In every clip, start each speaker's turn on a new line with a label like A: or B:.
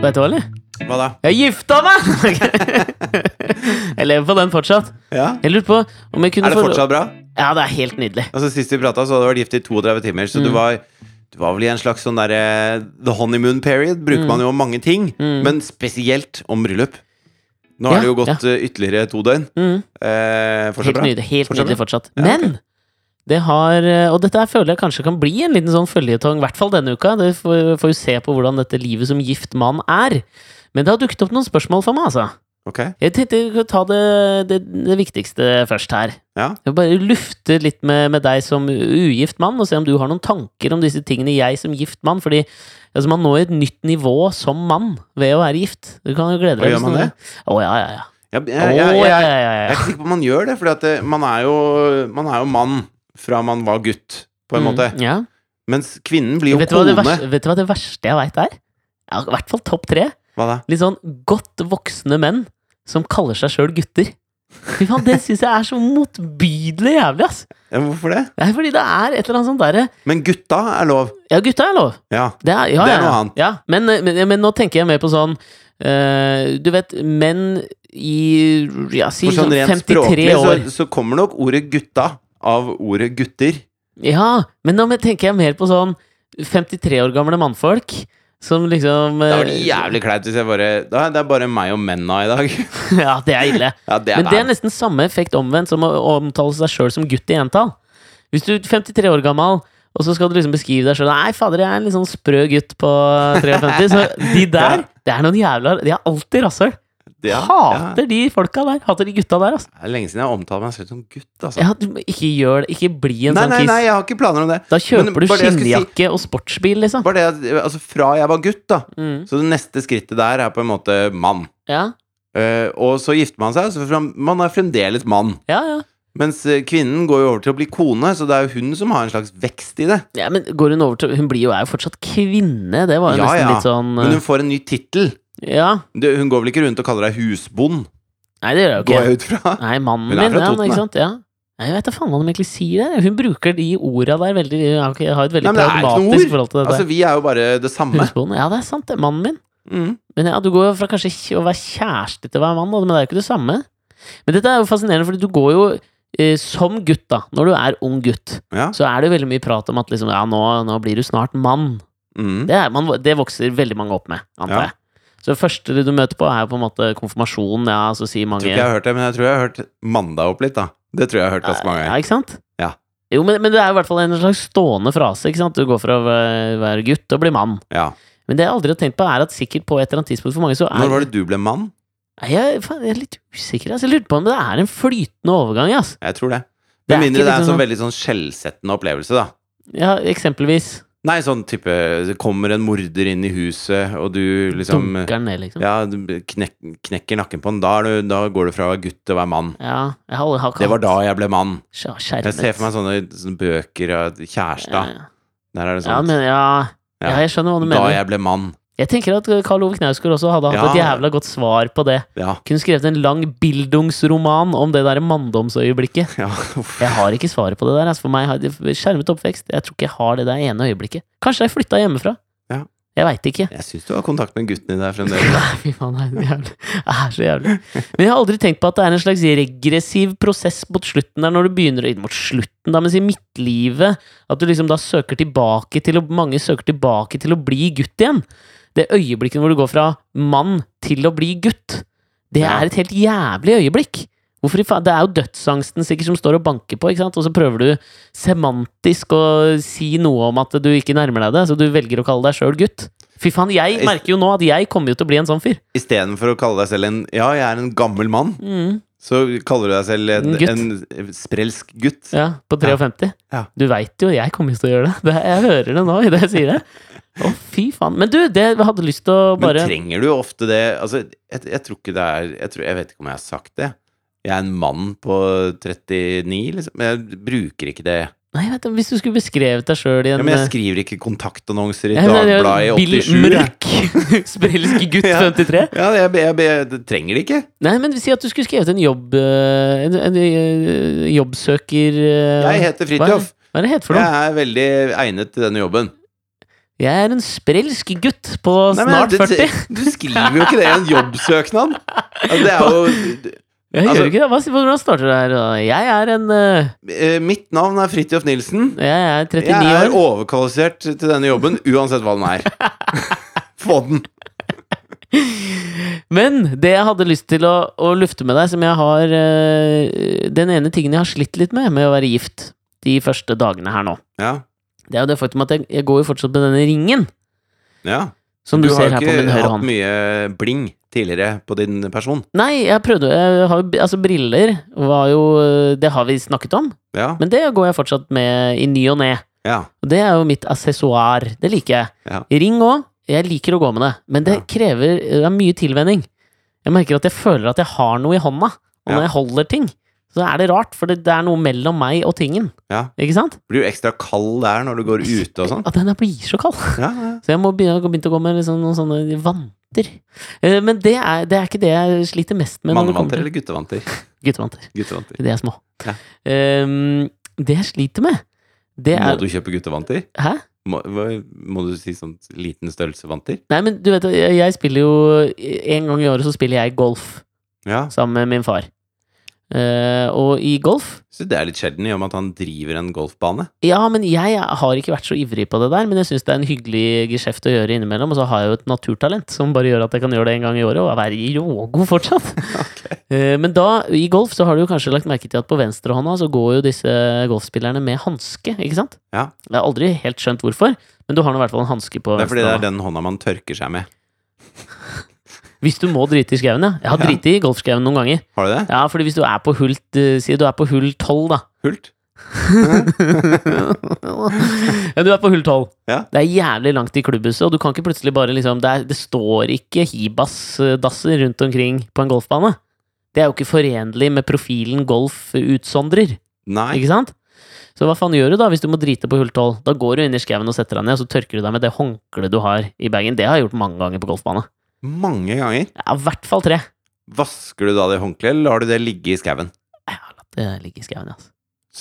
A: Vet du hva, eller?
B: Hva da?
A: Jeg gifta meg! jeg lever på den fortsatt.
B: Ja?
A: Jeg lurte på om jeg kunne
B: Er det
A: få-
B: fortsatt bra?
A: Ja, det er helt nydelig.
B: Altså, sist vi prata, så hadde du vært gift i 32 timer, så
A: Mm.
B: du var du var vel i en slags sånn derre The honeymoon period
A: Mm.
B: bruker man jo om mange ting, men spesielt om bryllup. Nå
A: Ja,
B: har det jo gått eh, ytterligere to døgn.
A: Mm.
B: Eh, fortsatt
A: Helt
B: bra.
A: nydelig, helt
B: Fortsatt
A: nydelig fortsatt.
B: Ja, ok.
A: Men det har eh, Og dette her føler jeg kanskje kan bli en liten sånn føljetong, i hvert fall denne uka. Det får, får jo se på hvordan dette livet som gift mann er. Men det har dukket opp noen spørsmål for meg, altså.
B: Ok.
A: Jeg tenkte vi kunne ta det, det, det viktigste først her.
B: Ja.
A: Jeg vil bare lufte litt med, med deg som ugift mann, og se om du har noen tanker om disse tingene jeg som gift mann. Fordi altså, man når et nytt nivå som mann ved å være gift. Du kan jo glede
B: Og
A: deg.
B: gjør man det?
A: Å ja, ja, ja.
B: Jeg, jeg,
A: Å,
B: eh, jeg,
A: ja,
B: jeg,
A: ja,
B: jeg,
A: ja,
B: er
A: ja.
B: ikke sikker på om man gjør det, for man, er jo- man er jo mann fra man var gutt, på en
A: Mm,
B: måte.
A: Ja.
B: Mens kvinnen blir jo
A: vet, du hva det
B: kone.
A: verste, vet du hva det verste jeg veit er? Ja, I hvert fall topp tre.
B: Hva da?
A: Litt sånn godt voksne menn som kaller seg sjøl gutter. Fy faen, Det syns jeg er så motbydelig jævlig, ass!
B: Ja, hvorfor det?
A: Det er fordi det er et eller annet sånt derre
B: Men gutta er lov.
A: Ja, gutta er lov!
B: Ja.
A: Det er, ja,
B: Det er
A: ja,
B: noe
A: ja.
B: annet.
A: Ja, men, eh, men, men nå tenker jeg mer på sånn eh, Du vet, menn i ja, si
B: For sånn
A: sånn
B: rent
A: 53
B: språklig så,
A: år.
B: så kommer nok ordet gutta av ordet gutter.
A: Ja, men nå men tenker jeg mer på sånn 53 år gamle mannfolk som liksom
B: Det
A: eh,
B: var jævlig kleint hvis jeg bare da, Det er bare meg og menna i dag.
A: Ja, det er ille.
B: Ja, det er
A: Men det er nesten samme effekt omvendt som å omtale seg sjøl som gutt i entall. Hvis du er 53 år gammel, og så skal du liksom beskrive deg sjøl Nei, fader, jeg er en litt sånn sprø gutt på 53. Så de der, det er noen jævla De er alltid rasshøl.
B: det er- ja,
A: Hater de folka der. Hater de gutta der, altså.
B: Det er lenge siden jeg har omtalt meg selv som gutt, altså.
A: Ja, du, må ikke gjør det. Ikke bli en
B: Nei,
A: sånn
B: nei,
A: kiss.
B: nei, jeg har ikke planer om det.
A: Da kjøper
B: Men
A: du
B: bare det jeg skulle si-
A: skinnjakke og sportsbil, liksom.
B: Bare det at altså, Fra jeg var gutt, da.
A: Mm.
B: Så det neste skrittet der er på en måte mann.
A: Ja,
B: Eh, og så gifter man seg, så frem- man er fremdeles mann.
A: ja, ja.
B: Mens eh, kvinnen går jo over til å bli kone, så det er jo hun som har en slags vekst i det.
A: ja men går hun over til Hun blir jo, er jo fortsatt kvinne. Det var jo
B: Ja,
A: nesten
B: ja.
A: litt sånn
B: Men hun får en ny tittel.
A: eh, Ja.
B: Du, Hun går vel ikke rundt og kaller deg husbond,
A: Nei, det gjør jeg jo ikke.
B: går jeg ut fra?
A: Nei, mannen
B: Hun
A: min,
B: er fra
A: ja,
B: Toten,
A: ikke
B: da.
A: sant? Ja. Nei, jeg vet da faen hva de egentlig sier der. Hun bruker de orda der veldig Jeg har ikke- jeg har et veldig
B: Nei, men det er ikke noe
A: pragmatisk
B: ord.
A: forhold til dette.
B: Altså, vi er jo bare det samme.
A: Husbonden. Ja, det er sant, det. Mannen min.
B: Mm.
A: Men ja, du går jo fra kanskje kj- å være kjæreste til å være mann, da, men det er jo ikke det samme. Men dette er jo fascinerende, fordi du går jo eh, som gutt, da, når du er ung gutt,
B: Ja.
A: så er det jo veldig mye prat om at liksom, ja, nå, nå blir du snart mann.
B: Mm.
A: Det, er, man, det vokser veldig mange opp med, antar jeg.
B: Ja.
A: Så det første du møter på, er jo på en måte konfirmasjon, ja, så sier mange
B: Tror ikke jeg har hørt det, men jeg tror jeg har hørt mandag opp litt, da. Det tror jeg jeg har hørt ganske mange
A: Ja,
B: ganger.
A: ikke sant?
B: Ja.
A: Jo, men, men det er i hvert fall en slags stående frase. ikke sant? Du går fra å væ- være gutt og bli mann.
B: Ja.
A: Men det jeg aldri har tenkt på, er at sikkert på et eller annet tidspunkt for mange så er
B: Når var det du ble mann?
A: Nei, Jeg, faen, jeg er litt usikker. ass. Jeg lurte på om det er en flytende overgang. ass.
B: Jeg tror det.
A: Det er
B: Med mindre
A: ikke
B: det er en
A: liksom-
B: sånn veldig sånn skjellsettende opplevelse, da.
A: Ja, Eksempelvis
B: Nei, sånn type det kommer en morder inn i huset, og du liksom
A: dunker den ned, liksom. Ja.
B: Ja, du knek, knekker nakken på den. Da, er du, da går du fra å være gutt til å være mann.
A: jeg har, har ikke
B: Det var
A: hatt
B: da jeg ble mann.
A: skj- skjermet.
B: Jeg ser for meg sånn sånne, sånne bøker av
A: ja,
B: kjæresta.
A: ja.
B: Der er det
A: ja,
B: sånn.
A: men ja,
B: Ja.
A: ja, jeg skjønner hva du
B: Da
A: mener. Jeg...
B: jeg ble mann.
A: tenker at Karl Ove Knausgård også hadde hatt et
B: Ja.
A: jævla godt svar på det.
B: Ja.
A: Kunne skrevet en lang bildungsroman om det derre manndomsøyeblikket.
B: ja. uff.
A: Jeg har ikke svaret på det der. Altså for meg har det- Skjermet oppvekst. Jeg tror ikke jeg har det der ene øyeblikket. Kanskje jeg flytta hjemmefra.
B: Ja.
A: Jeg veit ikke.
B: Jeg syns du har kontakt med gutten i deg fremdeles.
A: Nei, fy faen, det er jævlig. Det er så jævlig. Men jeg har aldri tenkt på at det er en slags regressiv prosess mot slutten der, når du begynner å- mot slutten, da, mens i midtlivet At du liksom da søker tilbake til å Mange søker tilbake til å bli gutt igjen. Det øyeblikket hvor du går fra mann til å bli gutt, det
B: Ja.
A: er et helt jævlig øyeblikk. Hvorfor i faen? Det er jo dødsangsten sikkert som står og banker på, ikke sant? og så prøver du semantisk å si noe om at du ikke nærmer deg det, så du velger å kalle deg sjøl gutt. Fy faen, jeg
B: Is-
A: merker jo nå at jeg kommer jo til å bli en sånn fyr.
B: Istedenfor å kalle deg selv en Ja, jeg er en gammel mann,
A: Mm,
B: så kaller du deg selv en,
A: En gutt.
B: en sprelsk gutt.
A: ja, på 53.
B: Ja.
A: Du veit jo, jeg kommer jo til å gjøre det. det. Jeg hører det nå idet jeg sier det. Å, fy faen. Men du, det jeg hadde lyst til å
B: Men
A: bare
B: trenger du ofte det Altså, jeg, jeg tror ikke det er jeg, tror, jeg vet ikke om jeg har sagt det. Jeg er en mann på 39, liksom. Men jeg bruker ikke det.
A: Nei, vet du, Hvis du skulle beskrevet deg sjøl i
B: Ja,
A: en
B: men jeg
A: eh,
B: skriver ikke kontaktannonser i
A: ja, men det er jo
B: Dagbladet i 87.
A: Bill
B: jeg.
A: Mørk, sprelsk gutt
B: Ja.
A: 53.
B: Ja, jeg, jeg, jeg, jeg trenger det ikke.
A: Nei, men si at du skulle skrevet en jobb eh, En, en, eh, jobbsøker eh,
B: Jeg heter Fridtjof.
A: Hva er det het for noe?
B: Jeg er veldig egnet til denne jobben.
A: Jeg er en sprelsk gutt på
B: Nei, men
A: snart
B: du-
A: 40.
B: Du skriver jo ikke det i en jobbsøknad! Altså, det er jo
A: Jeg
B: altså-
A: gjør ikke det. Hva, hvordan starter det her? da? Jeg er en eh,
B: Eh, Mitt navn er Fridtjof Nilsen.
A: Jeg er 39
B: Jeg er
A: år.
B: overkvalifisert til denne jobben, uansett hva den er. Få den!
A: Men det jeg hadde lyst til å, å lufte med deg, som jeg har eh, Den ene tingen jeg har slitt litt med med å være gift de første dagene her nå,
B: Ja.
A: det er jo det faktum at jeg, jeg går jo fortsatt med denne ringen.
B: ja.
A: Som du, ser her på min høyre
B: hatt
A: hånd.
B: mye bling tidligere på din person.
A: Nei, jeg prøvde jeg har, jo- Altså, briller var jo eh, Det har vi snakket om,
B: Ja.
A: men det går jeg fortsatt med i ny og ne.
B: ja.
A: Og det er jo mitt accessoar. Det liker jeg.
B: Ja.
A: Ring òg. Jeg liker å gå med det, men det
B: Ja.
A: krever det er mye tilvenning. Jeg merker at jeg føler at jeg har noe i hånda, og
B: Ja.
A: når jeg holder ting, så er det rart, for det, det er noe mellom meg og tingen.
B: Ja.
A: Ikke sant?
B: Blir jo ekstra kald der når du går ute og sånn.
A: At den er blir så kald.
B: Ja, ja.
A: Så jeg må begynne, begynte å gå med liksom noen sånne vanter. Eh, Men det er, det er ikke det jeg sliter mest med. når det kommer
B: Mannevanter
A: til-
B: eller guttevanter?
A: Guttevanter.
B: Guttevanter.
A: De er små.
B: Ja.
A: Ehm, det jeg sliter med, det
B: Må
A: er
B: du kjøpe guttevanter?
A: Hæ?
B: Må, hva- må du si sånn liten størrelse vanter?
A: Nei, men du vet, jeg jeg spiller jo En gang i året så spiller jeg golf
B: Ja.
A: sammen med min far. Eh, og i golf
B: Så det er litt sjelden i og med at han driver en golfbane.
A: Ja, men jeg har ikke vært så ivrig på det der, men jeg syns det er en hyggelig geskjeft å gjøre innimellom. Og så har jeg jo et naturtalent som bare gjør at jeg kan gjøre det en gang i året, og være rågod fortsatt. Eh, men da, i golf, så har du jo kanskje lagt merke til at på venstrehånda så går jo disse golfspillerne med hanske, ikke sant?
B: Ja.
A: Jeg har aldri helt skjønt hvorfor, men du har nå i hvert fall en hanske på
B: Det er fordi det er
A: venstrehånda.
B: den hånda man tørker seg med.
A: Hvis du må drite i skauen, ja. Jeg har
B: Ja.
A: driti i golfskauen noen ganger.
B: Har du det?
A: Ja, fordi hvis du er på hull eh, Si du er på hull 12 da
B: Hult?
A: Ja, du er på hull 12
B: Ja.
A: Det er jævlig langt i klubbhuset Og du kan ikke plutselig bare liksom Det, er, det står ikke hibas-dasser rundt omkring På en golfbane Det er jo ikke forenlig med profilen golf utsondrer
B: Nei.
A: Ikke sant? Så hva faen gjør du da hvis du må drite på hull 12? Da går du inn i skauen og setter deg ned Og så tørker du deg med det håndkle du har i bagen Det har jeg gjort mange ganger på golfbane
B: Mange ganger.
A: Ja, i hvert fall tre
B: Vasker du da det håndkleet, eller lar du det ligge i skauen?
A: Jeg har latt det ligge i skauen, altså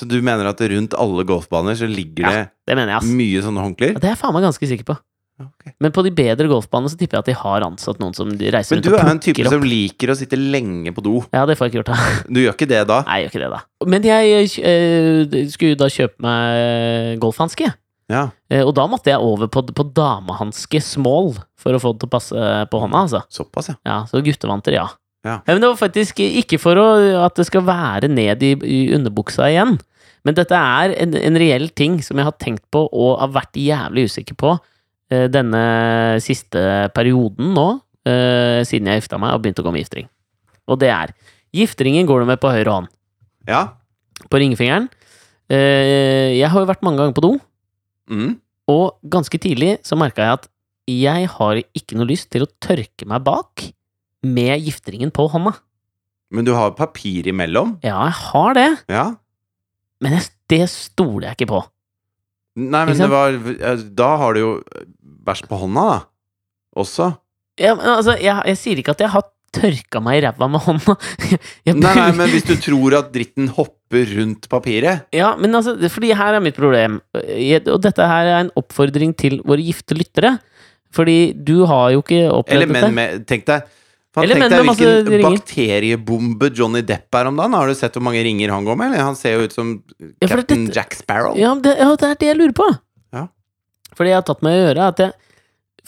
B: Så du mener at rundt alle golfbaner så ligger
A: Ja. Det mener jeg,
B: det mye sånne håndklær?
A: altså Det er jeg faen meg ganske sikker på
B: Ok.
A: Men på de bedre golfbanene så tipper jeg at de har ansatt noen som de reiser
B: Men
A: rundt
B: du
A: og
B: er en type
A: plukker opp.
B: som liker å sitte lenge på do.
A: Ja, det får jeg ikke gjort, da.
B: Du gjør ikke det da?
A: Nei, jeg gjør ikke det, da. Men jeg eh, skulle jo da kjøpe meg golfhanske.
B: Ja.
A: Eh, Og da måtte jeg over på, på damehanske small for å få det til å passe på hånda, altså.
B: Såpass, ja.
A: Ja, så guttevanter, ja.
B: Ja.
A: Men det var faktisk ikke for å, at det skal være ned i, i underbuksa igjen. Men dette er en, en reell ting som jeg har tenkt på og har vært jævlig usikker på eh, denne siste perioden nå, eh, siden jeg gifta meg og begynte å gå med giftering. Og det er Gifteringen går du med på høyre hånd.
B: Ja.
A: På ringfingeren. Eh, jeg har jo vært mange ganger på do,
B: Mm.
A: og ganske tidlig så merka jeg at jeg har ikke noe lyst til å tørke meg bak med gifteringen på hånda.
B: Men du har papir imellom?
A: Ja, jeg har det,
B: Ja.
A: men jeg, det stoler jeg ikke på.
B: Nei, men
A: Ikke
B: det
A: sant?
B: var eh, Da har du jo bæsj på hånda, da. Også.
A: Ja, men altså, jeg, jeg sier ikke at jeg har tørka meg i ræva med hånda. Jeg,
B: Nei, nei, men hvis du tror at dritten hopper rundt papiret
A: Ja, men altså, det- fordi her er mitt problem, Eh, Jeg- og dette her er en oppfordring til våre gifte lyttere, fordi du har jo ikke opplevd
B: Eller menn
A: dette.
B: med Tenk deg faen,
A: Eller
B: Tenk
A: menn
B: deg
A: med masse
B: hvilken
A: ringer.
B: bakteriebombe Johnny Depp er om dagen. Har du sett hvor mange ringer han går med? Eller? Han ser jo ut som
A: Ja, for
B: Captain
A: dette-
B: Jack Sparrow.
A: Ja, men det, ja, det er det jeg lurer på.
B: Ja.
A: For det jeg har tatt meg i øret, er at jeg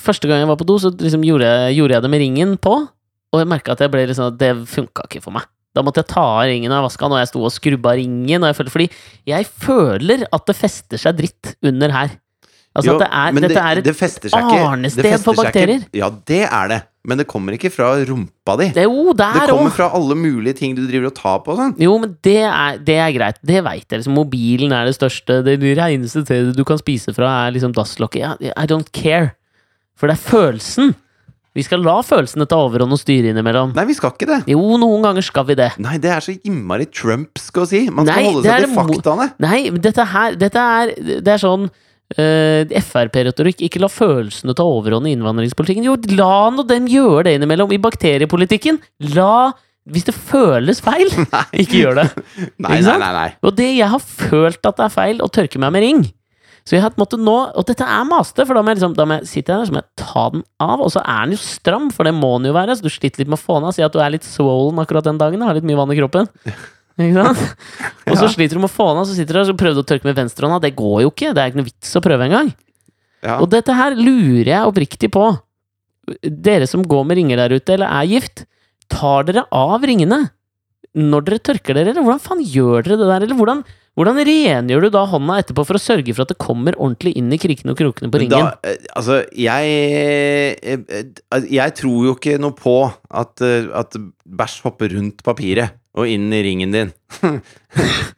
A: Første gang jeg var på do, så liksom gjorde, jeg, gjorde jeg det med ringen på, og jeg merka at jeg ble liksom, at det funka ikke for meg. Da måtte jeg ta av ringen når jeg vaska den, og jeg sto og skrubba ringen. Og jeg følte, fordi jeg føler at det fester seg dritt under her. Altså
B: Jo,
A: at det er,
B: men
A: dette er et
B: det fester seg ikke.
A: arnested
B: Det fester
A: for
B: seg ikke.
A: bakterier.
B: Ja, det er det. Men det kommer ikke fra rumpa di.
A: det, Jo,
B: Det
A: der òg!
B: kommer fra alle mulige ting du driver og tar på og sånn.
A: Jo, men det er, det er greit. Det veit jeg. Liksom, mobilen er det største. Det det reneste stedet du kan spise fra, er liksom dasslokket. Ja, I don't care. For det er følelsen. Vi skal la følelsene ta overhånd og styre innimellom.
B: Nei, vi skal ikke det.
A: Jo, noen ganger skal vi det.
B: Nei, det er så innmari trumpsk å si. Man skal
A: Nei,
B: holde
A: det
B: seg
A: er
B: til
A: mo-
B: faktaene.
A: Nei, men dette her dette er, Det er sånn eh, Frp-retorikk. Ikke la følelsene ta overhånd i innvandringspolitikken. Jo, la nå dem gjøre det innimellom. I bakteriepolitikken, la Hvis det føles feil, ikke gjør det.
B: Nei,
A: Ikke
B: nei,
A: sant?
B: nei, nei.
A: Og det jeg har følt at det er feil å tørke meg med ring, Så jeg har måttet nå Og dette er maste, for da må jeg liksom Da må jeg sitte her og så må jeg ta den av. Og så er den jo stram, for det må den jo være. Så du sliter litt med å få den av. Si at du er litt swollen akkurat den dagen. Har litt mye vann i kroppen. Ikke sant? Og så sliter du med å få den av, så sitter du her og så prøver du å tørke med venstrehånda. Det går jo ikke. Det er ikke noe vits å prøve engang.
B: Ja.
A: Og dette her lurer jeg oppriktig på. Dere som går med ringer der ute, eller er gift, tar dere av ringene når dere tørker dere, eller hvordan faen gjør dere det der? Eller hvordan, hvordan rengjør du da hånda etterpå for å sørge for at det kommer ordentlig inn i krikene og krokene på
B: Men
A: ringen?
B: Da, eh, altså, jeg eh, eh, Jeg tror jo ikke noe på at, eh, at bæsj hopper rundt papiret og inn i ringen din.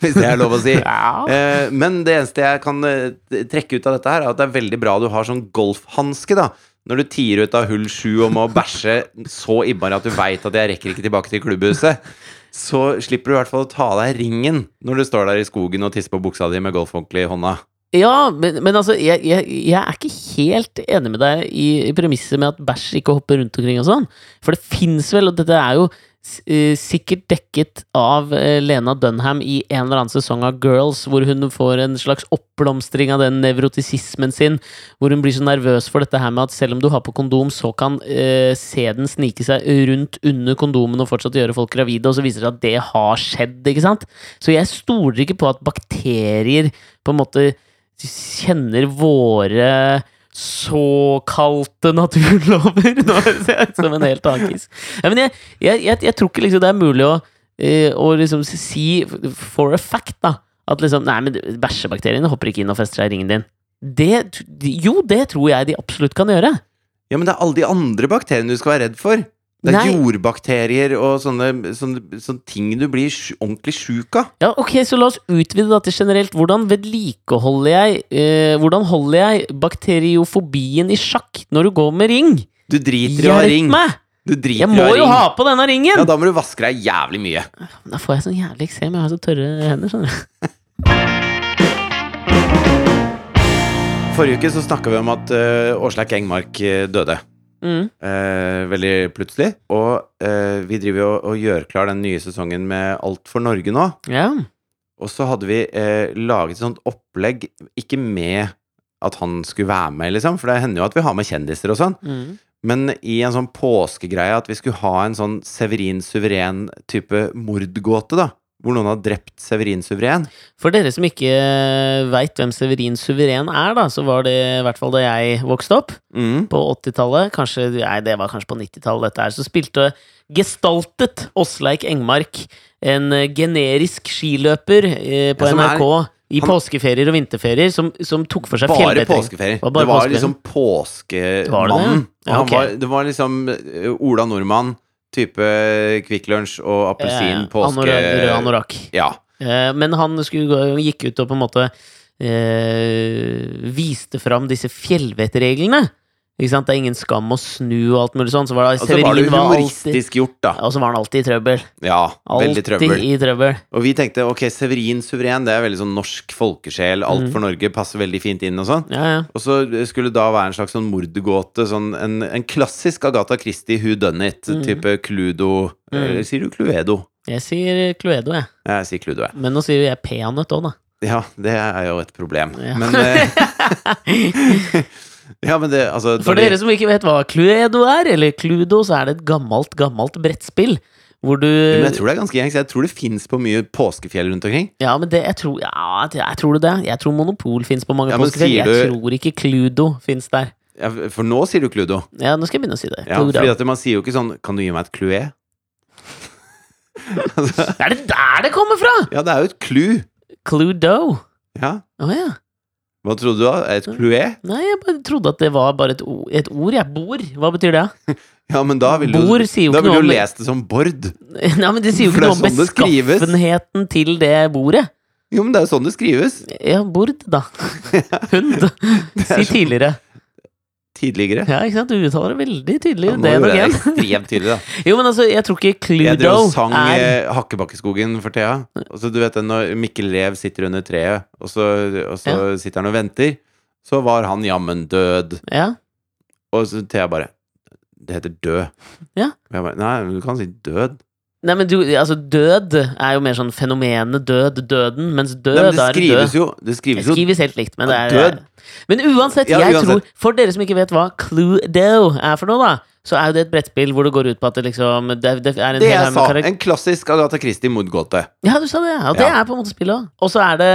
B: Hvis det er lov å si.
A: ja.
B: Eh, Men det eneste jeg kan eh, trekke ut av dette, her er at det er veldig bra du har sånn golfhanske. da Når du tier ut av hull sju og må bæsje så innmari at du veit at jeg rekker ikke tilbake til klubbhuset, så slipper du i hvert fall å ta av deg ringen når du står der i skogen og tisser på buksa di med golfhåndkle i hånda.
A: ja, men, men altså, jeg, jeg, jeg er ikke helt enig med deg i, i premisset med at bæsj ikke hopper rundt omkring og sånn. For det fins vel, og dette er jo s- eh, sikkert dekket av eh, Lena Dunham i en eller annen sesong av Girls, hvor hun får en slags oppblomstring av den nevrotisismen sin, hvor hun blir så nervøs for dette her med at selv om du har på kondom, så kan eh, sæden snike seg rundt under kondomen og fortsatt gjøre folk gravide, og så viser det seg at det har skjedd, ikke sant? Så jeg stoler ikke på at bakterier på en måte kjenner våre såkalte naturlover. Nå ser jeg ut som en helt annen kis. Ja, men jeg, jeg, jeg, jeg tror ikke liksom det er mulig å, eh, å liksom si for a fact da, at liksom, nei, men bæsjebakteriene hopper ikke inn og fester seg i ringen din. Det, tr- jo, det tror jeg de absolutt kan gjøre.
B: Ja, men det er alle de andre bakteriene du skal være redd for. Det er
A: Nei.
B: jordbakterier og sånne, sånne, sånne ting du blir sj- ordentlig sjuk av.
A: Ja, ok, så la oss utvide dette generelt. Hvordan vedlikeholder jeg eh, Hvordan holder jeg bakteriofobien i sjakk når du går med ring?
B: Du driter i å ha
A: Hjelp
B: ring.
A: meg!
B: Du driter
A: Jeg
B: i å
A: må
B: ha
A: jo
B: ring.
A: ha på denne ringen!
B: Ja, da må du vaske deg jævlig mye.
A: Da får jeg sånn jævlig eksem. Jeg har så tørre hender. skjønner du.
B: Forrige uke så snakka vi om at eh, Åslaug Engmark eh, døde.
A: Mm.
B: eh, veldig plutselig. Og eh, vi driver jo og gjør klar den nye sesongen med Alt for Norge nå.
A: Ja.
B: Og så hadde vi eh, laget et sånt opplegg, ikke med at han skulle være med, liksom, for det hender jo at vi har med kjendiser og sånn.
A: Mm.
B: Men i en sånn påskegreie at vi skulle ha en sånn Severin Suveren type mordgåte, da. Hvor noen har drept Severin Suveren.
A: For dere som ikke veit hvem Severin Suveren er, da, så var det i hvert fall da jeg vokste opp,
B: Mm.
A: på 80-tallet, kanskje Nei, det var kanskje på 90-tallet, dette her, så spilte Gestaltet Åsleik Engmark en eh, generisk skiløper eh, på
B: Ja, som er-
A: NRK i
B: han-
A: påskeferier og vinterferier, som, som tok for seg
B: Bare
A: fjellbetring.
B: påskeferier.
A: Var bare
B: det var
A: påskeferier.
B: liksom
A: Var det det?
B: påskemannen. Og
A: Ja,
B: han
A: ok.
B: var, det var liksom eh, Ola Nordmann, type eh, Kvikk Lunsj og appelsin, påske...
A: Rød anorakk.
B: Ja.
A: Eh, Men han skulle, gå- gikk ut og på en måte eh, viste fram disse fjellvettreglene. Ikke sant? Det er ingen skam å snu og alt mulig sånn. Så var det,
B: Og så Altså, var det
A: Severin
B: jo
A: var alltid,
B: humoristisk gjort, da.
A: og så var han alltid i trøbbel.
B: Ja, veldig
A: Alltid
B: trøbbel.
A: i trøbbel.
B: Og vi tenkte ok, Severin Suveren, det er veldig sånn norsk folkesjel,
A: Mm.
B: alt for Norge, passer veldig fint inn og sånn.
A: Ja, ja.
B: Og så skulle det da være en slags sånn mordgåte, sånn en, en klassisk Agatha Christie who done it,
A: Mhm.
B: type Cludo Eller sier du Cluedo?
A: Jeg sier Cluedo, jeg.
B: Jeg sier Cluedo, jeg.
A: Men nå sier jo jeg peanøtt òg, da.
B: Ja, det er jo et problem.
A: Ja.
B: Men eh, Ja, men det altså
A: For
B: når de-
A: dere som ikke vet hva Cluedo er, eller Cludo, så er det et gammelt, gammelt brettspill. Hvor du
B: Men jeg tror det er ganske gjengs. Jeg tror det fins på mye påskefjell rundt omkring.
A: Ja, men det, jeg tror Ja, jeg tror det. Jeg tror Monopol fins på mange
B: Ja, men
A: påskefjell.
B: sier
A: Jeg
B: du-
A: tror ikke Cludo fins der.
B: Ja, For nå sier du Cluedo.
A: Ja, nå skal jeg begynne å si det.
B: Ja,
A: Cluedo.
B: fordi at man sier jo ikke sånn Kan du gi meg et clue? altså,
A: Er det der det kommer fra?!
B: ja, det er jo et clou.
A: Cluedo.
B: Ja.
A: Å ja.
B: Hva trodde du? da? Et cloué?
A: Nei, jeg bare trodde at det var bare et, o- et ord, jeg. Bord. Hva betyr det?
B: Ja, men da ville
A: Bord
B: du,
A: sier jo
B: da
A: ikke
B: ville
A: noe om-
B: du lest det som bord.
A: Nei, men det sier jo
B: For
A: ikke noe
B: det er
A: om
B: sånn det skrives.
A: beskaffenheten til det bordet.
B: Jo, men det er jo sånn det skrives.
A: Ja, bord, da. Hund. Si
B: sånn-
A: tidligere.
B: Tidligere.
A: Ja, ikke sant? Du uttaler det veldig tydelig.
B: Ja, nå
A: det er
B: gjorde
A: nok
B: jeg
A: en.
B: det ekstremt tydelig, da.
A: Jo, men altså, jeg tror ikke
B: Jeg drev
A: Cluedo
B: og sang
A: er
B: eh, Hakkebakkeskogen for Thea. Og så du vet det, når Mikkel Rev sitter under treet, og så, og så sitter han og venter, så var han jammen død.
A: ja.
B: Og så Thea bare Det heter død.
A: Ja.
B: Og jeg bare Nei, men du kan si død.
A: Nei, men du, altså Død er jo mer sånn fenomenet død, døden, mens død
B: Nei, men det
A: er
B: skrives
A: død.
B: jo Det
A: Det
B: skrives jo
A: skrives helt likt, men det er
B: Død.
A: Men uansett,
B: Ja,
A: jeg
B: uansett.
A: tror For dere som ikke vet hva Cluedo er for noe, da, så er jo det et brettspill hvor det går ut på at det liksom Det, det er en
B: Det
A: hel haug med
B: jeg sa.
A: karak-
B: En klassisk Agatha Christie mordgåte.
A: Ja, du sa det, ja. Og det
B: Ja.
A: er på en måte spillet òg. Og så er det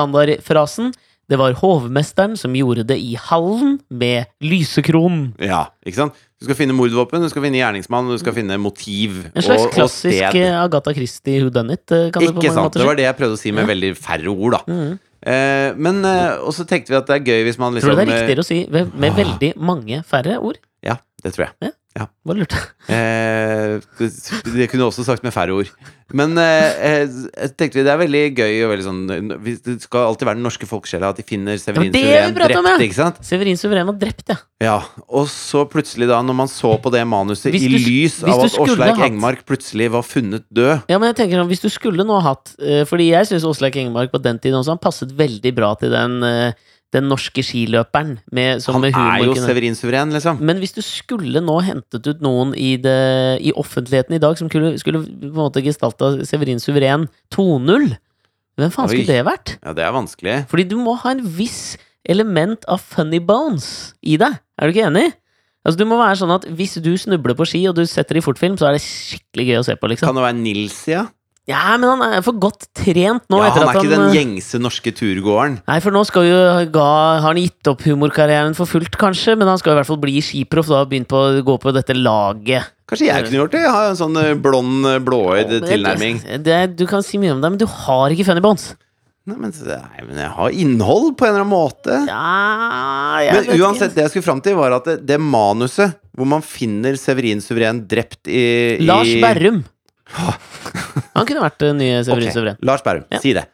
A: standardfrasen. Det var hovmesteren som gjorde det i hallen med lysekronen.
B: Ja, ikke sant? Du skal finne mordvåpen, du skal finne gjerningsmann, du skal finne motiv
A: En slags
B: og, og
A: klassisk
B: sted.
A: eh, Agatha Christie who done it, eh, kan du på mange
B: Ikke sant.
A: måter
B: Det
A: si.
B: var det jeg prøvde å si med veldig færre ord, da.
A: Mhm.
B: Eh, men, eh, og så tenkte vi at det er gøy hvis man liksom
A: Tror du det er
B: eh,
A: riktigere å si med, med veldig mange færre ord?
B: Ja, det tror jeg.
A: Bare lurte.
B: Eh, det kunne jeg også sagt med færre ord. Men eh, eh, tenkte vi det er veldig gøy og veldig sånn vi- Det skal alltid være den norske folkesjela at de finner Severin
A: Det var det vi
B: Suveren
A: pratet om, ja.
B: drept, ikke sant?
A: Severin Suveren var drept, ja.
B: Ja, og så plutselig da, når man så på det manuset
A: Hvis
B: i
A: du-
B: lys
A: hvis du
B: av at
A: skulle
B: Åslaug
A: hatt-
B: Engmark plutselig var funnet død
A: Ja, men jeg tenker sånn, Hvis du skulle nå hatt eh, Fordi jeg syns Åslaug Engemark på den tiden også Han passet veldig bra til den, eh, den norske skiløperen. Med, som
B: Han
A: med humor
B: er jo
A: kunne-
B: Severin Suveren, liksom.
A: Men hvis du skulle nå hentet ut noen i, det, i offentligheten i dag som skulle, skulle på en måte gestalta Severin Suveren 2.0, hvem faen
B: Oi.
A: skulle det vært?
B: Ja, det er vanskelig.
A: Fordi du må ha en viss element av funny bones i deg. Er du ikke enig? Altså, du må være sånn at Hvis du snubler på ski og du setter i fortfilm, så er det skikkelig gøy å se på. liksom
B: Kan det være Nils, ja?
A: Ja, Men han er for godt trent nå.
B: ja
A: etter
B: han er
A: at
B: ikke den
A: eh,
B: gjengse norske turgåeren.
A: Nei, for nå skal jo ga, Har han gitt opp humorkarrieren for fullt, kanskje? Men han skal i hvert fall bli skiproff da og begynt på å gå på dette laget.
B: Kanskje jeg kunne gjort det? Jeg har en sånn eh, blond, eh, blåøyd
A: Men jeg-
B: tilnærming.
A: Det, du kan si mye om det, men du har ikke funny bones.
B: Nei men, nei, men jeg har innhold på en eller annen måte.
A: Ja, jeg vet
B: Men
A: ikke.
B: uansett, det jeg skulle fram til, var at det, det manuset hvor man finner Severin Suveren drept i, i
A: Lars Berrum. Han kunne vært eh, den nye Severin
B: Ok,
A: Suveren.
B: Lars Berrum,
A: Ja.
B: si det.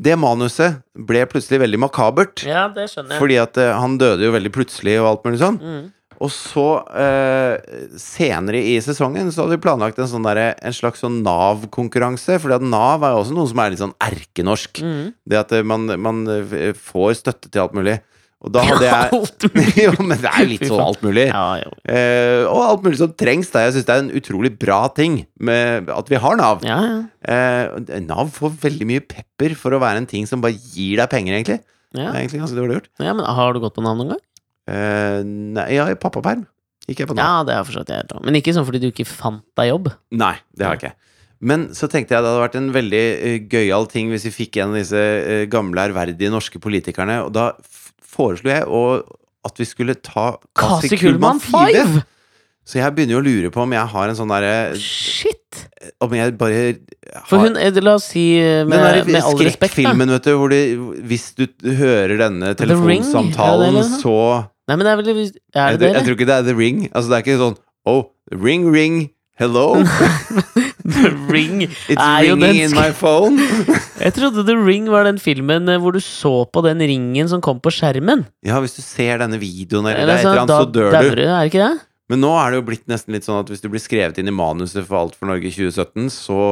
B: Det manuset ble plutselig veldig makabert.
A: Ja, det skjønner jeg.
B: Fordi at eh, han døde jo veldig plutselig og alt mulig sånn.
A: Mm.
B: Og så, eh, senere i sesongen, så hadde vi planlagt en, sånn derre- en slags sånn Nav-konkurranse. Fordi at Nav er jo også noe som er litt sånn erkenorsk.
A: Mm.
B: Det at eh, man, man eh, får støtte til alt mulig. Og da hadde jeg
A: Alt mulig.
B: Jo, men det er jo litt
A: Fy
B: sånn
A: faen.
B: alt mulig.
A: Ja, jo.
B: Eh, og alt mulig som trengs. Da. Jeg syns det er en utrolig bra ting med at vi har Nav.
A: Ja, ja.
B: Eh, Nav får veldig mye pepper for å være en ting som bare gir deg penger, egentlig. Det
A: Ja.
B: er egentlig ganske dårlig gjort.
A: ja, men Har du gått på Nav noen gang?
B: Eh, nei, ja, i pappaperm gikk jeg på Nav.
A: Ja, det har forstått jeg helt Men ikke sånn fordi du ikke fant deg jobb.
B: Nei, det har jeg ikke. Men så tenkte jeg det hadde vært en veldig eh, gøyal ting hvis vi fikk en av disse eh, gamle, ærverdige norske politikerne. Og da f foreslo jeg å, at vi skulle ta
A: Kasi Kullmann 5!
B: Så jeg begynner jo å lure på om jeg har en sånn derre
A: Shit!
B: Om jeg bare
A: For
B: har-
A: hun, eh, la oss si eh, med,
B: den der
A: med all respekt da.
B: skrekkfilmen, vet du, hvor de, hvis du hører denne
A: The Ring, er
B: telefonsamtalen,
A: det det?
B: så
A: Nei, men det er vel Er
B: jeg,
A: det
B: tror-
A: dere?
B: jeg tror ikke det er The Ring. Altså, det er ikke sånn Oh, ring, ring, hello,
A: The Ring
B: it's
A: er jo
B: ringing
A: den
B: in my phone.
A: Jeg trodde The Ring var den filmen eh, hvor du så på den ringen som kom på skjermen.
B: Ja, hvis du ser denne videoen eller
A: Eller
B: det er et eller
A: sånn,
B: annet,
A: da
B: så dør du.
A: dauer er det ikke det?
B: Men nå er det jo blitt nesten litt sånn at hvis du blir skrevet inn i manuset for Alt for Norge i 2017, så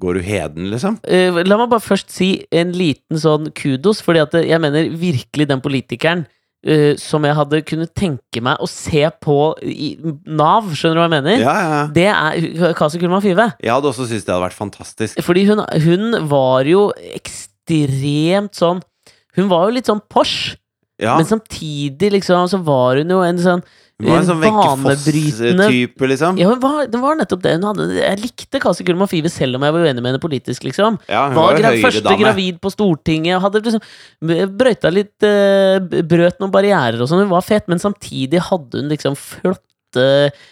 B: går du heden, liksom.
A: Eh, la meg bare først si en liten sånn kudos, fordi at jeg mener virkelig den politikeren eh, som jeg hadde kunnet tenke meg å se på i Nav, skjønner du hva jeg mener?
B: Ja, ja. ja.
A: Det er Kasi Kullmann Five.
B: Jeg hadde også syntes det hadde vært fantastisk.
A: Fordi hun, hun var jo ekstremt sånn Hun var jo litt sånn Porsche,
B: Ja,
A: men samtidig liksom så var hun jo en sånn
B: det var en sånn
A: banebrytende-
B: Wenche-Foss-type, liksom.
A: ja, hun var, det var nettopp det hun hadde. Jeg likte Kasi Kullmann Five selv om jeg var uenig med henne politisk, liksom.
B: Ja, hun
A: Var
B: var jo
A: gra første
B: høyredame.
A: gravid på Stortinget, hadde liksom b- brøyta litt eh, b- Brøt noen barrierer og sånn. Hun var fet, men samtidig hadde hun liksom flotte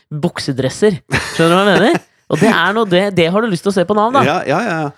A: buksedresser. Skjønner du hva jeg mener? Og det er noe, det, det har du lyst til å se på Nav, da.
B: Ja, ja, ja.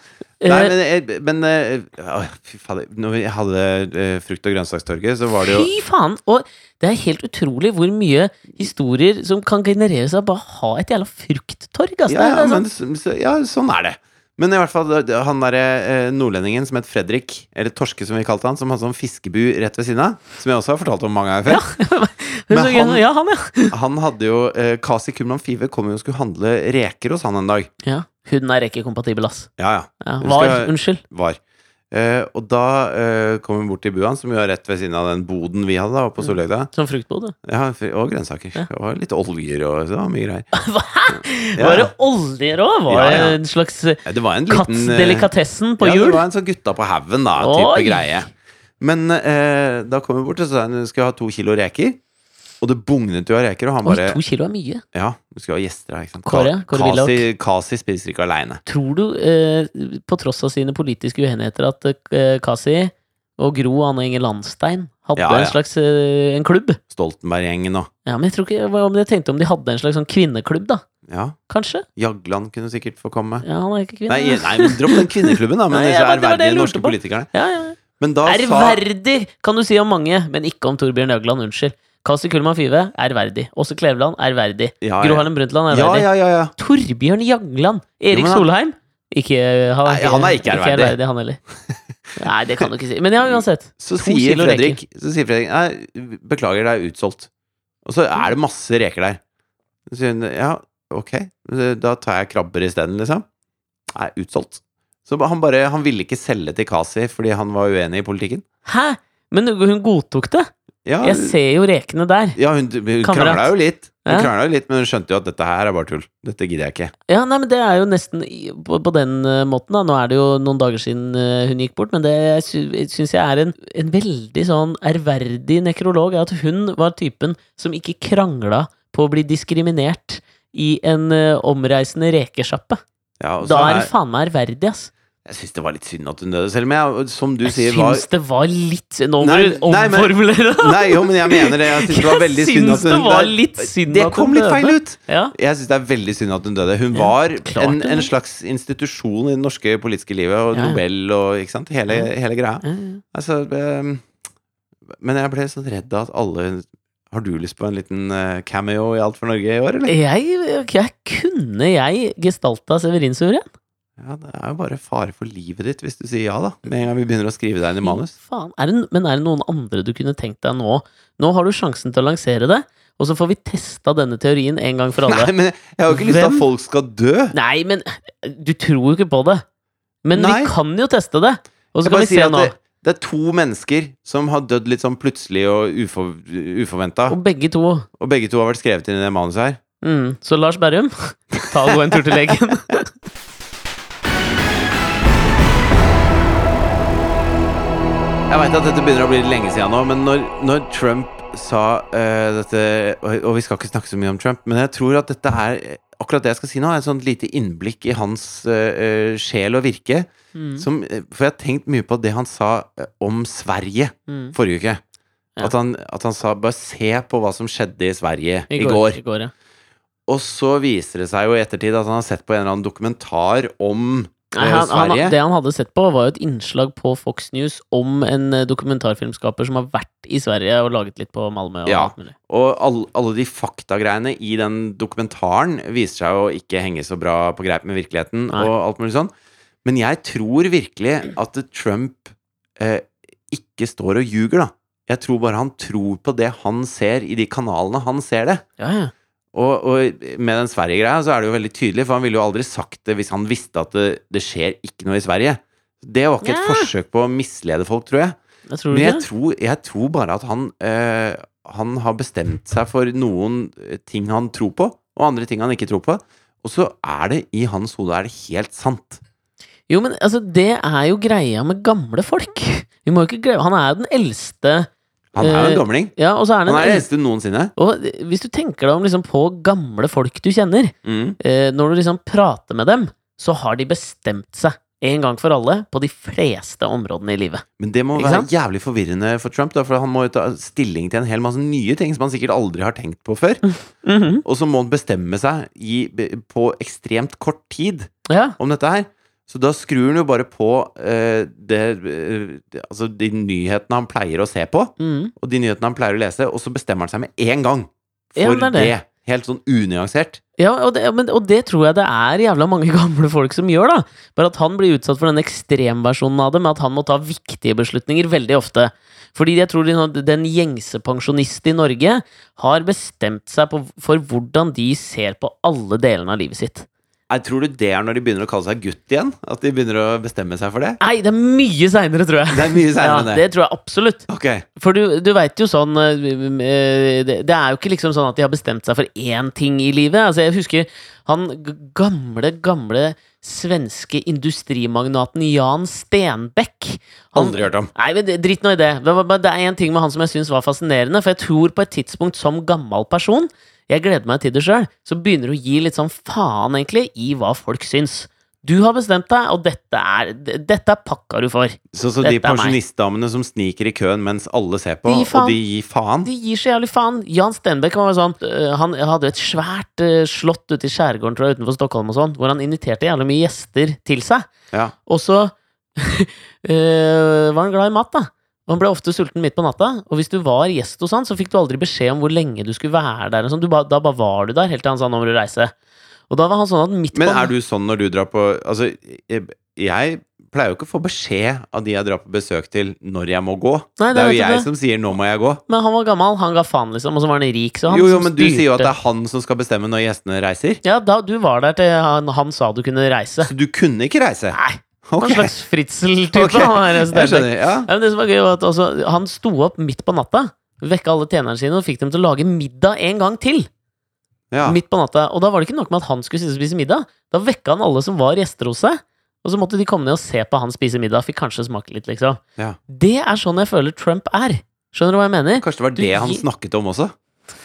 A: Eh,
B: Nei, men, jeg- men eh, å, Fy fader. Når jeg hadde eh, frukt- og grønnsakstorget, så var det jo
A: Fy faen! Og det er helt utrolig hvor mye historier som kan genereres av bare å ha et jævla frukttorg. ass.
B: ja,
A: Det er- det
B: ja,
A: er sånn-
B: men, så- så- ja, sånn er det. Men i hvert fall det- det- han derre eh, nordlendingen som het Fredrik, eller Torske som vi kalte han, som hadde sånn fiskebu rett ved siden av, som jeg også har fortalt om mange ganger før,
A: Hun
B: men
A: så gøy-
B: han-
A: ja, han, ja.
B: han hadde jo eh, Kasi Kumlan Five kom jo og skulle handle reker hos han en dag.
A: ja. Hun er ikke kompatibel, ass.
B: Ja, ja.
A: Ja,
B: Hun
A: var,
B: skal-
A: unnskyld.
B: Var. Eh, Eh, og da eh, kom hun bort til bua, som jo er rett ved siden av den boden vi hadde da, oppe på Solhøgda.
A: Som fruktbod. det.
B: Ja, fri- og grønnsaker. Og litt oljer og så, det var mye greier. Ja.
A: Var det oljer òg? Var
B: Ja,
A: det
B: ja.
A: en slags
B: Ja, Det var en liten eh,
A: kattsdelikatessen på
B: ja,
A: jul?
B: Det var en sånn gutta på haugen, da, type
A: Oi.
B: greie. Men eh, da kom hun bort og sa hun skulle ha to kilo reker. Og det bugnet jo av reker, og han
A: Oi,
B: bare
A: to kilo er mye.
B: Ja, du skal ha gjester her, ikke sant.
A: Kåre,
B: Ka-
A: Kåre Willoch.
B: Kasi, Kasi spiser ikke aleine.
A: Tror du, eh, på tross av sine politiske uenigheter, at eh, Kasi og Gro og Anne Inger Landstein hadde
B: Ja, ja.
A: en slags eh, en klubb?
B: Stoltenberg-gjengen og
A: Ja, men jeg tror ikke hva om jeg tenkte om de hadde en slags sånn kvinneklubb, da.
B: Ja.
A: Kanskje?
B: Jagland kunne sikkert få komme.
A: Ja, han er ikke kvinne.
B: Nei, nei men dropp den kvinneklubben, da. Men
A: Nei,
B: disse
A: ja, men det var det
B: ærverdige
A: jeg lurte
B: norske
A: på.
B: politikerne.
A: ja, ja.
B: Men da sa
A: Ærverdig kan du si om mange, men ikke om Torbjørn Jagland. Unnskyld. Kasi Kullmann Five, ærverdig. Åse Kleveland, ærverdig.
B: Ja,
A: Gro
B: ja.
A: Harlem Brundtland,
B: ja,
A: ærverdig.
B: ja, ja, ja.
A: Torbjørn Jagland.
B: Jo,
A: Erik
B: men han-
A: Solheim. Ikke, eh, han,
B: Nei, han er ikke ærverdig.
A: han heller. Nei, det kan du ikke si. Men ja, uansett.
B: Så
A: To
B: sier
A: kilo
B: Fredrik, så sier Fredrik Nei, beklager, det er utsolgt. Og så er det masse reker der. Så sier hun ja, ok, da tar jeg krabber isteden, liksom. Nei, utsolgt. Så han bare, han ville ikke selge til Kasi fordi han var uenig i politikken.
A: Hæ? Men hun godtok det?
B: Ja,
A: Jeg ser jo rekene der.
B: ja hun, hun
A: Kamerat.
B: krangla jo litt, hun
A: Ja.
B: krangla jo litt, men hun skjønte jo at dette her er bare tull. Dette gidder jeg ikke.
A: Ja, nei, men Det er jo nesten i- på, på den eh, måten. da Nå er det jo noen dager siden eh, hun gikk bort, men det syns jeg er en, en veldig sånn ærverdig nekrolog. er At hun var typen som ikke krangla på å bli diskriminert i en eh, omreisende rekesjappe.
B: Ja, altså, og så
A: Da er
B: er-
A: det faen meg ærverdig, ass.
B: Jeg syns det var litt synd at hun døde, selv om jeg, som du
A: Jeg
B: sier,
A: syns
B: var
A: det var litt Nå må
B: Nei,
A: du
B: nei, men-
A: omformulere det!
B: Nei, jo, men jeg mener det. Jeg syns det var veldig synd at
A: syns det
B: hun
A: var
B: Nei,
A: litt synd
B: Det
A: at
B: kom
A: hun
B: litt feil
A: døde.
B: ut.
A: Ja.
B: Jeg syns det er veldig synd at hun døde. Hun var
A: klart
B: en,
A: hun
B: en
A: døde.
B: slags institusjon i det norske politiske livet,
A: Ja,
B: og
A: ja.
B: Nobel og ikke sant? Hele,
A: Ja.
B: hele greia.
A: Ja, ja.
B: Altså, ehm, men jeg ble sånn redd av at alle Har du lyst på en liten eh, cameo i Alt for Norge i år, eller?
A: Jeg, jeg kunne jeg gestalta Severin Suveren?
B: Ja, det er jo bare fare for livet ditt hvis du sier ja, da. Med en gang vi begynner å skrive deg inn
A: Mm.
B: i manus.
A: Faen. Er det, men er det noen andre du kunne tenkt deg nå? Nå har du sjansen til å lansere det, og så får vi testa denne teorien en gang for
B: Nei,
A: alle. Nei,
B: men jeg har jo ikke lyst til
A: Hvem?
B: at folk skal dø.
A: men du tror jo ikke på det. Men
B: Nei.
A: vi kan jo teste det. Og så kan
B: Jeg bare
A: vi se
B: sier at
A: nå.
B: det, det er to mennesker som har dødd litt sånn plutselig og ufor, uforventa,
A: Og begge to.
B: og begge to har vært skrevet inn i det manuset her.
A: Mm. Så Lars Berrum, ta og gå en tur til legen.
B: Jeg vet at dette begynner å bli lenge siden nå, men når, når Trump sa eh, dette og, og vi skal ikke snakke så mye om Trump, men jeg tror at dette er Akkurat det jeg skal si nå, er et sånt lite innblikk i hans eh, eh, sjel og virke.
A: Mm.
B: Som, eh, for jeg har tenkt mye på det han sa eh, om Sverige
A: Mm.
B: forrige uke.
A: Ja.
B: At, han, at han sa bare se på hva som skjedde i Sverige i går.
A: I går ja.
B: Og så viser det seg jo i ettertid at han har sett på en eller annen dokumentar om
A: Nei,
B: eh,
A: han, han,
B: Sverige.
A: det han hadde sett på, var jo et innslag på Fox News om en eh, dokumentarfilmskaper som har vært i Sverige og laget litt på Malmö. Og
B: Ja.
A: alt mulig.
B: Og alle, alle de faktagreiene i den dokumentaren viser seg å ikke henge så bra på greip med virkeligheten
A: Nei.
B: og alt mulig sånn. Men jeg tror virkelig at Trump eh, ikke står og ljuger, da. Jeg tror bare han tror på det han ser i de kanalene han ser det.
A: Ja, ja.
B: Og, og med den Sverige-greia så er det jo veldig tydelig, for han ville jo aldri sagt det hvis han visste at det, det skjer ikke noe i Sverige. Det var ikke et
A: Ja.
B: forsøk på å mislede folk, tror jeg.
A: Jeg tror
B: Men
A: ikke
B: jeg tror, jeg tror bare at han eh, Han har bestemt seg for noen eh, ting han tror på, og andre ting han ikke tror på. Og så er det i hans hode er det helt sant.
A: Jo, men altså, det er jo greia med gamle folk. Vi må jo ikke glemme Han er jo den eldste
B: Han er jo
A: Eh,
B: en gamling.
A: Ja, og så er han
B: Han
A: den
B: er den
A: eldste
B: eldste noensinne.
A: Og hvis du tenker deg om liksom på gamle folk du kjenner,
B: Mm.
A: eh, når du liksom prater med dem, så har de bestemt seg en gang for alle på de fleste områdene i livet.
B: Men det må
A: Ikke
B: være
A: sant?
B: jævlig forvirrende for Trump, da, for han må jo ta stilling til en hel masse nye ting som han sikkert aldri har tenkt på
A: Mm.
B: før.
A: Mhm.
B: Og så må han bestemme seg i, på ekstremt kort tid
A: Ja,
B: om dette her. Så da skrur han jo bare på eh, det, eh, det- altså de nyhetene han pleier å se på,
A: mhm.
B: og de nyhetene han pleier å lese, og så bestemmer han seg med en gang for
A: Ja, men det er
B: det.
A: det.
B: Helt sånn unyansert.
A: ja og, det, men, og det tror jeg det er jævla mange gamle folk som gjør, da. Bare at han blir utsatt for den ekstremversjonen av det, med at han må ta viktige beslutninger veldig ofte. Fordi jeg tror den- den gjengse pensjonist i Norge har bestemt seg på, for hvordan de ser på alle delene av livet sitt.
B: Nei, Tror du det er når de begynner å kalle seg gutt igjen? At de begynner å bestemme seg for det?
A: Nei, det er mye seinere, tror jeg.
B: Det er
A: Ja,
B: mye seinere enn det.
A: det tror jeg absolutt.
B: Ok,
A: For du, du veit jo sånn eh, det, det er jo ikke liksom sånn at de har bestemt seg for én ting i livet. Altså, jeg husker han g- gamle, gamle svenske industrimagnaten Jan Stenbeck. Han-
B: Aldri hørt om.
A: Nei, men det- Drit nå i det. Det, var, bare- det er én ting med han som jeg syns var fascinerende. For jeg tror på et tidspunkt som gammel person, jeg gleder meg til det sjøl, så begynner du å gi litt sånn faen, egentlig, i hva folk syns. Du har bestemt deg, og dette er, d- dette er pakka du får.
B: Sånn som de
A: Dette er meg.
B: pensjonistdamene som sniker i køen mens alle ser på,
A: De gir faen.
B: og de gir faen.
A: De gir så jævlig faen. Jan Stenbeck var jo sånn øh, Han hadde et svært øh, slott ute i skjærgården tror jeg, utenfor Stockholm og sånn, hvor han inviterte jævlig mye gjester til seg.
B: Ja.
A: Og så øh, var han glad i mat, da. Og Han ble ofte sulten midt på natta, og hvis du var gjest hos han, så fikk du aldri beskjed om hvor lenge du skulle være der. eller Sånn. Du ba, da bare var du der, helt til han sa 'nå må du reise'. Og da var han sånn at midt
B: Men
A: på
B: er du sånn når du drar på Altså, jeg, jeg pleier jo ikke å få beskjed av de jeg drar på besøk til, når jeg må gå.
A: Nei, det
B: det er
A: vet
B: jo
A: jeg
B: jeg
A: ikke.
B: som sier 'nå må jeg gå'.
A: Men han var gammel, han ga faen, liksom, og så var han rik, så han
B: Jo, jo,
A: som
B: men du sier jo at det
A: styrte.
B: er han som skal bestemme når gjestene reiser.
A: Ja, da, du var der til han, han sa du kunne reise.
B: Så du kunne ikke reise?
A: Nei.
B: Ok.
A: Hva slags fritzel-type
B: Ok.
A: han er?
B: Jeg
A: Stenbeck?
B: skjønner. Ja.
A: Ja, men det som var gøy var at altså, Han sto opp midt på natta, vekka alle tjenerne sine og fikk dem til å lage middag en gang til.
B: ja.
A: Midt på natta Og da var det ikke nok med at han skulle sitte og spise middag. Da vekka han alle som var gjester hos seg, og så måtte de komme ned og se på han spise middag. Fikk kanskje smake litt, liksom.
B: Ja.
A: Det er sånn jeg føler Trump er. Skjønner du hva jeg mener?
B: Kanskje det var
A: Du
B: det han
A: gir-
B: snakket om også?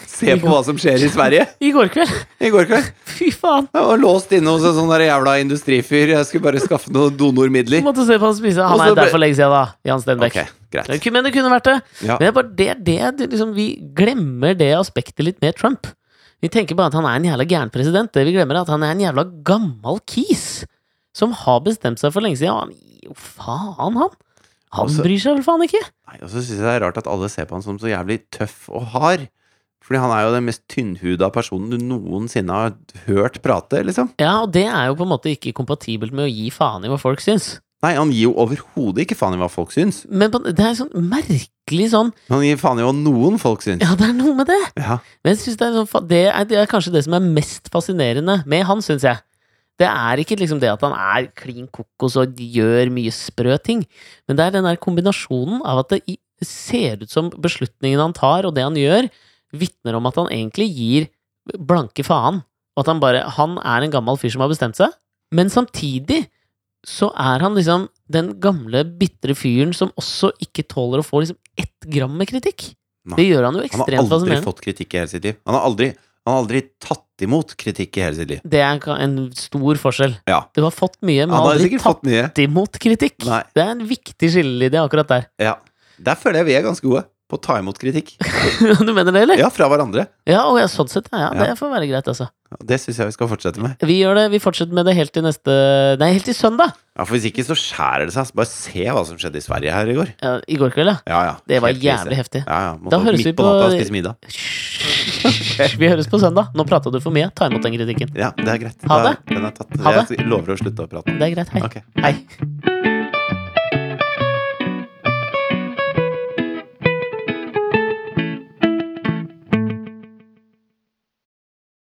B: Se på hva som skjer i Sverige
A: I går kveld.
B: i går kveld.
A: Fy faen.
B: Jeg var låst inne hos en sånn der jævla industrifyr. Jeg skulle bare skaffe noen donormidler.
A: Måtte se på han spise.
B: Og
A: Han
B: så
A: er der
B: ble-
A: for lenge siden, da. Jan Stenbeck.
B: Ok, greit.
A: Det kunne- Men det kunne vært det.
B: Ja.
A: Men det er bare det, det, det liksom, vi glemmer det aspektet litt med Trump. Vi tenker bare at han er en jævla gæren president. Det vi glemmer, er at han er en jævla gammal kis. Som har bestemt seg for lenge siden. Og han gir jo faen, han! Han
B: Altså-
A: bryr seg vel faen ikke!
B: Nei, og så syns jeg det er rart at alle ser på han som så jævlig tøff og hard. Fordi han er jo den mest tynnhuda personen du noensinne har hørt prate, liksom.
A: Ja, og det er jo på en måte ikke kompatibelt med å gi faen i hva folk syns.
B: Nei, han gir jo overhodet ikke faen i hva folk syns.
A: Men på, det er sånn merkelig sånn
B: Men han gir faen i hva noen folk syns.
A: Ja, det er noe med det!
B: Ja.
A: Men jeg synes det, er sånn, fa- det, er, det er kanskje det som er mest fascinerende med han, syns jeg. Det er ikke liksom det at han er klin kokos og gjør mye sprø ting, men det er den der kombinasjonen av at det i- ser ut som beslutningene han tar, og det han gjør, vitner om at han egentlig gir blanke faen. Og at han bare Han er en gammel fyr som har bestemt seg, men samtidig så er han liksom den gamle, bitre fyren som også ikke tåler å få liksom ett gram med kritikk.
B: Nei.
A: Det gjør han jo
B: Han har
A: ekstremt
B: aldri
A: fascinerende.
B: fått kritikk i hele sitt liv. Han har aldri, han har aldri tatt imot kritikk i hele sitt liv.
A: Det er ka- en stor forskjell.
B: Ja.
A: Du har fått mye, men
B: Han har
A: aldri
B: sikkert
A: tatt
B: fått mye.
A: imot kritikk.
B: Nei.
A: Det er en viktig skillelinje akkurat der.
B: Ja. Der føler jeg vi er ganske gode på å ta imot kritikk.
A: du mener det, eller?
B: Ja, fra hverandre.
A: Ja, og ja, sånn sett, ja, ja.
B: Ja.
A: Det får være greit, altså.
B: Det syns jeg vi skal fortsette med.
A: Vi gjør det, vi fortsetter med det helt til neste Nei, helt til søndag!
B: Ja, For hvis ikke så skjærer det seg. Altså, bare se hva som skjedde i Sverige her i går.
A: Ja, I går kveld, ja.
B: Ja, ja.
A: Det var
B: Helt krise.
A: jævlig heftig.
B: Ja, ja. Måtte
A: Da høres
B: midt
A: vi
B: på
A: på-
B: natta og spise middag.
A: Hysj. Vi høres på søndag. Nå prata du for mye. Ta imot den kritikken.
B: Ja, det er greit.
A: Ha det.
B: Da- Den er tatt.
A: Ha det.
B: Jeg lover å slutte å prate.
A: Det er greit. Hei.
B: Ok.
A: Hei.